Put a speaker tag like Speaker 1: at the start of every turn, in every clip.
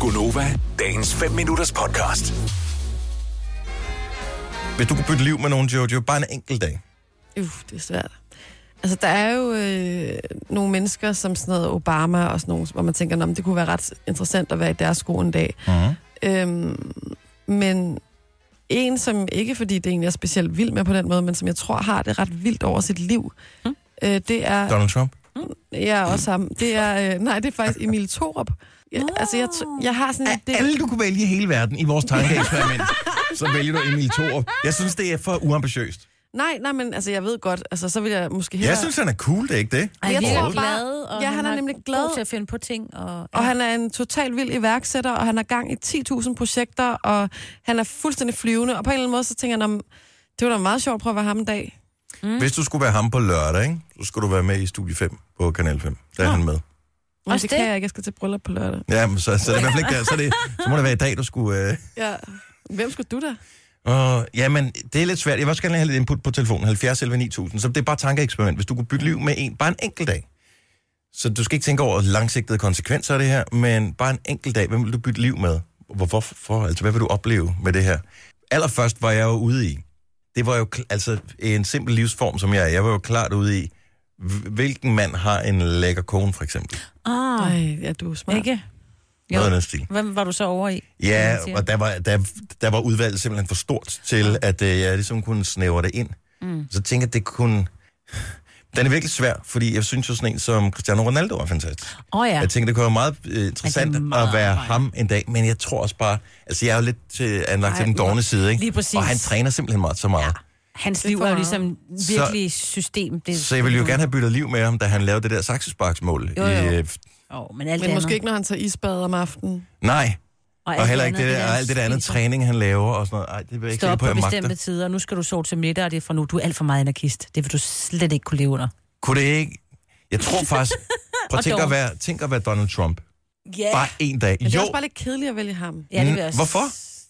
Speaker 1: Gunova, dagens 5 minutters podcast.
Speaker 2: Hvis du kunne bytte liv med nogen, Jojo, bare en enkelt dag.
Speaker 3: Uff, det er svært. Altså, der er jo øh, nogle mennesker, som sådan noget Obama og sådan nogle, hvor man tænker, "Nå, men det kunne være ret interessant at være i deres sko en dag.
Speaker 2: Mm-hmm.
Speaker 3: Øhm, men en, som ikke fordi det egentlig er specielt vild med på den måde, men som jeg tror har det ret vildt over sit liv,
Speaker 4: Mm.
Speaker 3: øh, det er...
Speaker 2: Donald Trump.
Speaker 3: Ja, også ham. Det er, øh, nej, det er faktisk Emil Thorup. Jeg, altså, jeg, t- jeg har sådan en...
Speaker 2: Det... Alle, du kunne vælge i hele verden i vores tankeeksperiment, så vælger du Emil Thorup. Jeg synes, det er for uambitiøst.
Speaker 3: Nej, nej, men altså, jeg ved godt. Altså, så vil jeg måske hellere...
Speaker 2: Jeg synes, han er cool, det er ikke det?
Speaker 4: Ej,
Speaker 3: Jeg
Speaker 4: jeg
Speaker 3: tror
Speaker 4: tror
Speaker 3: bare-
Speaker 4: glad, og
Speaker 3: Ja, han er
Speaker 4: har-
Speaker 3: nemlig glad.
Speaker 4: god til at finde på ting. Og,
Speaker 3: Og han er en total vild iværksætter, og han har gang i 10.000 projekter, og han er fuldstændig flyvende. Og på en eller anden måde, så tænker han om, det var da meget sjovt at prøve at være ham en dag.
Speaker 2: Hvis du skulle være ham på lørdag, ikke? så skulle du være med i Studie 5 på Kanal 5. Der er han med.
Speaker 3: Men
Speaker 4: Også
Speaker 3: det,
Speaker 4: det?
Speaker 3: kan jeg ikke, jeg skal til bryllup på lørdag.
Speaker 2: Ja, men så, så, er det i hvert fald ikke der. Så, er det, så må det være i dag, du skulle... Øh...
Speaker 3: Ja. Hvem skulle du da?
Speaker 2: Og, jamen, Øh, det er lidt svært. Jeg vil også gerne have lidt input på telefonen. 70 11 9000. Så det er bare et tankeeksperiment. Hvis du kunne bytte liv med en, bare en enkelt dag. Så du skal ikke tænke over langsigtede konsekvenser af det her, men bare en enkelt dag. Hvem vil du bytte liv med? Hvor- Hvorfor? For, altså, hvad vil du opleve med det her? Allerførst var jeg jo ude i. Det var jo kl- altså en simpel livsform, som jeg er. Jeg var jo klart ude i. hv- Hvilken mand har en lækker kone, for eksempel?
Speaker 4: Ah,
Speaker 3: Nej, ja, du er smart. Ikke?
Speaker 4: ikke? Jo.
Speaker 2: Noget af den stil.
Speaker 4: Hvem var du så over i?
Speaker 2: Ja,
Speaker 4: man siger.
Speaker 2: og der var, der, der var udvalget simpelthen for stort til, at øh, jeg ligesom kunne snævre det ind. Mm. Så tænkte jeg, det kunne... Den er virkelig svær, fordi jeg synes jo sådan en som Cristiano Ronaldo er fantastisk.
Speaker 4: Åh oh,
Speaker 2: Ja.
Speaker 4: ja.
Speaker 2: Jeg tænkte, det kunne være meget øh, interessant
Speaker 4: Ja,
Speaker 2: at
Speaker 4: det er meget
Speaker 2: være
Speaker 4: meget.
Speaker 2: ham en dag, men jeg tror også bare... Altså, jeg er jo lidt til, anlagt til
Speaker 3: Ej,
Speaker 2: den dårne side, ikke?
Speaker 4: lige præcis.
Speaker 2: Og han træner simpelthen meget så meget. Ja.
Speaker 4: Hans
Speaker 3: Det er
Speaker 4: liv
Speaker 3: for
Speaker 4: er jo
Speaker 3: meget.
Speaker 4: ligesom virkelig så, system. Det,
Speaker 2: Så jeg ville jo gerne have byttet liv med ham, da han lavede det der saksesparksmål.
Speaker 4: Jo, jo.
Speaker 2: I, øh,
Speaker 4: Oh, men alt det
Speaker 3: Men måske
Speaker 4: andet.
Speaker 3: ikke, når han tager isbad om aftenen.
Speaker 2: nej, og,
Speaker 4: alt
Speaker 2: heller ikke det
Speaker 4: andet,
Speaker 2: der, og alt det der andet
Speaker 4: spiser.
Speaker 2: træning, han laver og sådan noget. Ej, det vil jeg ikke
Speaker 4: Stå
Speaker 2: se
Speaker 4: op
Speaker 2: på,
Speaker 4: på
Speaker 2: jeg magter.
Speaker 4: bestemte tider, nu skal du sove til middag, og det er fra nu. Du er alt for meget anarkist. Det vil du slet ikke kunne leve under.
Speaker 2: Kunne det ikke? Jeg tror faktisk... Prøv at
Speaker 4: Og
Speaker 2: tænk at,
Speaker 4: dog.
Speaker 2: være, tænk at være Donald Trump.
Speaker 4: Ja,
Speaker 2: Bare en dag.
Speaker 3: Men det er
Speaker 2: Jo,
Speaker 3: også bare lidt kedeligt at vælge ham.
Speaker 4: ja det vil
Speaker 2: Mm,
Speaker 4: jeg også.
Speaker 2: hvorfor?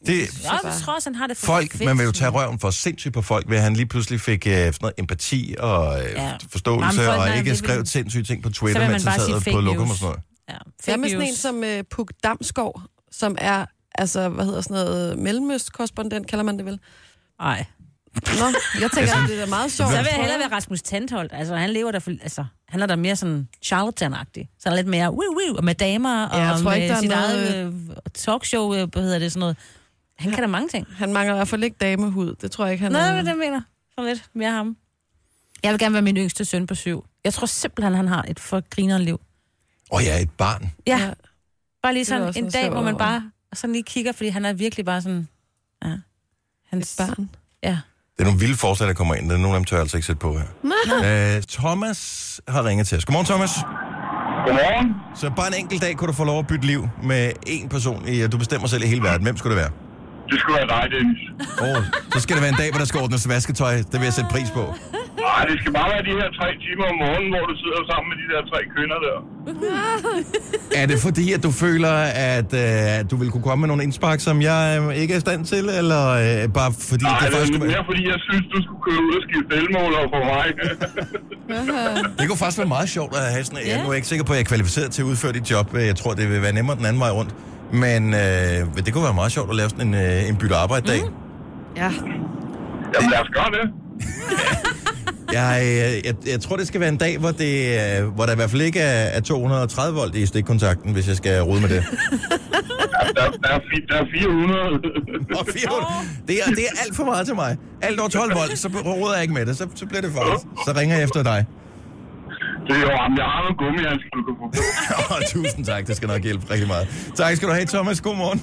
Speaker 2: det,
Speaker 4: Ja, men jeg tror også, han har det for
Speaker 2: folk,
Speaker 4: fedt.
Speaker 2: man vil jo tage røven for sindssygt på folk, ved at han lige pludselig fik øh, sådan noget empati og øh,
Speaker 4: Ja.
Speaker 2: forståelse,
Speaker 4: Jamen, folk,
Speaker 2: og
Speaker 4: nej,
Speaker 2: ikke
Speaker 4: det
Speaker 2: skrev
Speaker 4: vil-
Speaker 2: sindssyge ting på
Speaker 4: Så vil
Speaker 2: Twitter,
Speaker 4: man
Speaker 2: mens han
Speaker 4: bare sige
Speaker 2: sad
Speaker 4: fake
Speaker 2: på lokum og
Speaker 4: news.
Speaker 2: sådan noget.
Speaker 4: Ja, fake
Speaker 3: Jeg med sådan
Speaker 4: news.
Speaker 3: en som øh, Puk Damskov, som er, altså, hvad hedder sådan noget, mellemøstkorrespondent, kalder man det vel?
Speaker 4: Ej.
Speaker 3: Nå, jeg tænker, at det er da meget sjovt.
Speaker 4: Så vil jeg hellere være Rasmus Tandholt. Altså, han lever der, for, altså, han er der mere sådan charlatan-agtig. Så han er lidt mere woo woo, og med damer, og
Speaker 3: Ja, jeg tror
Speaker 4: med
Speaker 3: ikke, der er
Speaker 4: sit
Speaker 3: noget-
Speaker 4: eget øh, talkshow, øh, hvad hedder det, sådan noget. Han kan da mange ting.
Speaker 3: Han mangler i hvert fald ikke damehud. Det tror jeg ikke, han
Speaker 4: Nå,
Speaker 3: er.
Speaker 4: det er det, jeg mener. Sådan lidt mere ham. Jeg vil gerne være min yngste søn på syv. Jeg tror simpelthen, han har et for grineren liv.
Speaker 2: Og jeg er et barn.
Speaker 4: Ja,
Speaker 3: Ja.
Speaker 4: ja. bare lige
Speaker 3: Det er
Speaker 4: sådan
Speaker 3: også
Speaker 4: en
Speaker 3: noget
Speaker 4: dag,
Speaker 3: sjovt
Speaker 4: hvor man
Speaker 3: over.
Speaker 4: bare sådan lige kigger, fordi han er virkelig bare sådan... Ja. Hans
Speaker 3: Et barn.
Speaker 4: Ja.
Speaker 2: Det er nogle vilde forslag, der kommer ind. Der er nogle af dem tør jeg altså ikke sætte på her. Øh, Thomas har ringet til os. Godmorgen, Thomas.
Speaker 5: Godmorgen.
Speaker 2: Så bare en enkelt dag kunne du få lov at bytte liv med én person. i- Du bestemmer selv i hele verden. Hvem skulle det være?
Speaker 5: Det skulle være dig, Dennis.
Speaker 2: Oh, så skal det være en dag, hvor der skal ordnes vasketøj. Det vil jeg sætte pris på.
Speaker 5: Nej, det skal bare være de her tre timer om morgenen, hvor du sidder sammen med de der tre kvinder der.
Speaker 2: Er det fordi, at du føler, at øh, du vil kunne komme med nogle indspark, som jeg øh, ikke er i stand til, eller øh, bare fordi
Speaker 5: Nej,
Speaker 2: det,
Speaker 5: det
Speaker 2: faktisk
Speaker 5: er
Speaker 2: kunne være,
Speaker 5: mere fordi, jeg synes, du skulle køre ud og skifte elmåler for mig.
Speaker 2: det kunne faktisk være meget sjovt at have sådan yeah. Jeg
Speaker 4: Ja.
Speaker 2: nu er jeg ikke sikker på, at jeg er kvalificeret til at udføre dit job. Jeg tror, det vil være nemmere den anden vej rundt. Men øh, det kunne være meget sjovt at lave sådan en, øh, en bytte arbejde dag. Mm.
Speaker 3: Ja.
Speaker 5: Jamen, lad os gøre det.
Speaker 2: Jeg, øh, jeg, jeg tror, det skal være en dag, hvor, det, øh, hvor der i hvert fald ikke er, er 230 volt i stikkontakten, hvis jeg skal rode med det.
Speaker 5: Der, der, er, fi- der er 400.
Speaker 2: Og 400. Det er, det er alt for meget til mig. Alt over 12 volt, så råder jeg ikke med det. Så, så bliver det faktisk. Så ringer jeg efter dig.
Speaker 5: det er jo ham. Jeg har nogle gummihandsker, du kan få på.
Speaker 2: Åh, tusind tak. Det skal nok hjælpe rigtig meget. Tak skal du have, Thomas. God morgen.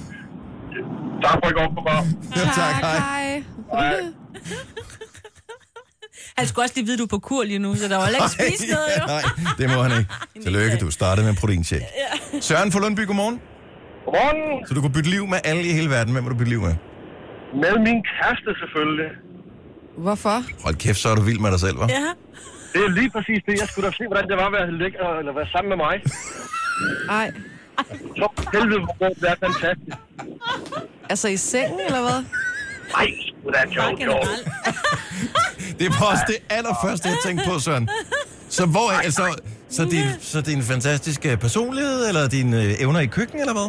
Speaker 5: Tak for i går på bar.
Speaker 2: tak, hej.
Speaker 3: hej.
Speaker 5: Hej.
Speaker 4: Han skulle også lige vide, du er på kur lige nu, så der var heller ikke spist noget, jo.
Speaker 2: Nej, det må han ikke. Tillykke, du startede med en proteinshake. Søren fra Lundby, godmorgen.
Speaker 5: Godmorgen.
Speaker 2: Så du kunne bytte liv med alle i hele verden. Hvem vil du bytte liv med?
Speaker 5: Med min kæreste selvfølgelig.
Speaker 3: Hvorfor?
Speaker 2: Hold kæft, så er du vild med dig selv, hva'?
Speaker 4: Ja.
Speaker 5: Det er lige præcis det. Jeg skulle da se, hvordan det var at være lækker eller være sammen med mig.
Speaker 3: Ej.
Speaker 5: Så helvede, hvor det er fantastisk.
Speaker 3: Altså i sengen, eller hvad?
Speaker 5: Ej, sgu da,
Speaker 4: Bare
Speaker 5: sjovt, sjovt.
Speaker 4: generelt.
Speaker 2: Det er også det allerførste, jeg tænkte på, Søren. Så hvor er, så, så, din, så din fantastiske personlighed, eller dine øh, evner i køkken, eller hvad?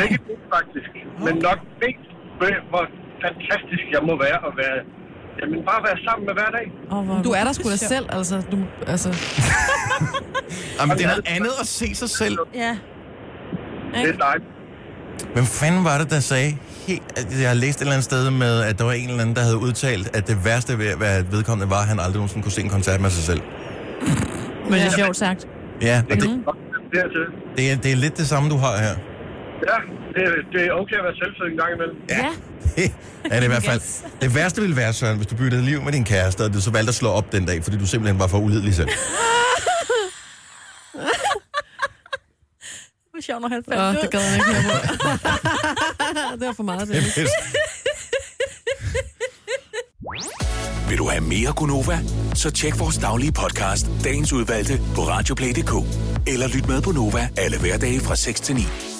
Speaker 5: Begge to, faktisk. Men nok mest ved, hvor fantastisk jeg må være at være... Jamen, bare være sammen med hver dag.
Speaker 4: Oh,
Speaker 3: Du er der sgu da selv, altså. Du, altså.
Speaker 6: Jamen, det er noget andet at se sig selv.
Speaker 4: Ja.
Speaker 5: Det er dejligt.
Speaker 2: Hvem fanden var det, der sagde, helt, at jeg har læst et eller andet sted med, at der var en eller anden, der havde udtalt, at det værste ved at være vedkommende var, at han aldrig nogensinde kunne se en koncert med sig selv.
Speaker 4: Men det er sjovt sagt.
Speaker 2: Ja, og det,
Speaker 5: Nok dertil.
Speaker 2: det, er, det er lidt det samme, du har her.
Speaker 5: Ja, det, det er okay at være selvfød en gang imellem.
Speaker 4: Ja.
Speaker 2: Det er det i hvert fald. Det værste ville være, Søren, hvis du byttede liv med din kæreste, og du så valgte at slå op den dag, fordi du simpelthen var for ulidelig selv.
Speaker 4: Det var sjovt, når han faldt
Speaker 3: Åh,
Speaker 4: oh,
Speaker 3: det gad jeg ikke høre på. det var for meget, det.
Speaker 1: Vil du have mere Gunova? Så tjek vores daglige podcast, dagens udvalgte, på radioplay.dk. Eller lyt med på Nova alle hverdage fra 6 til 9.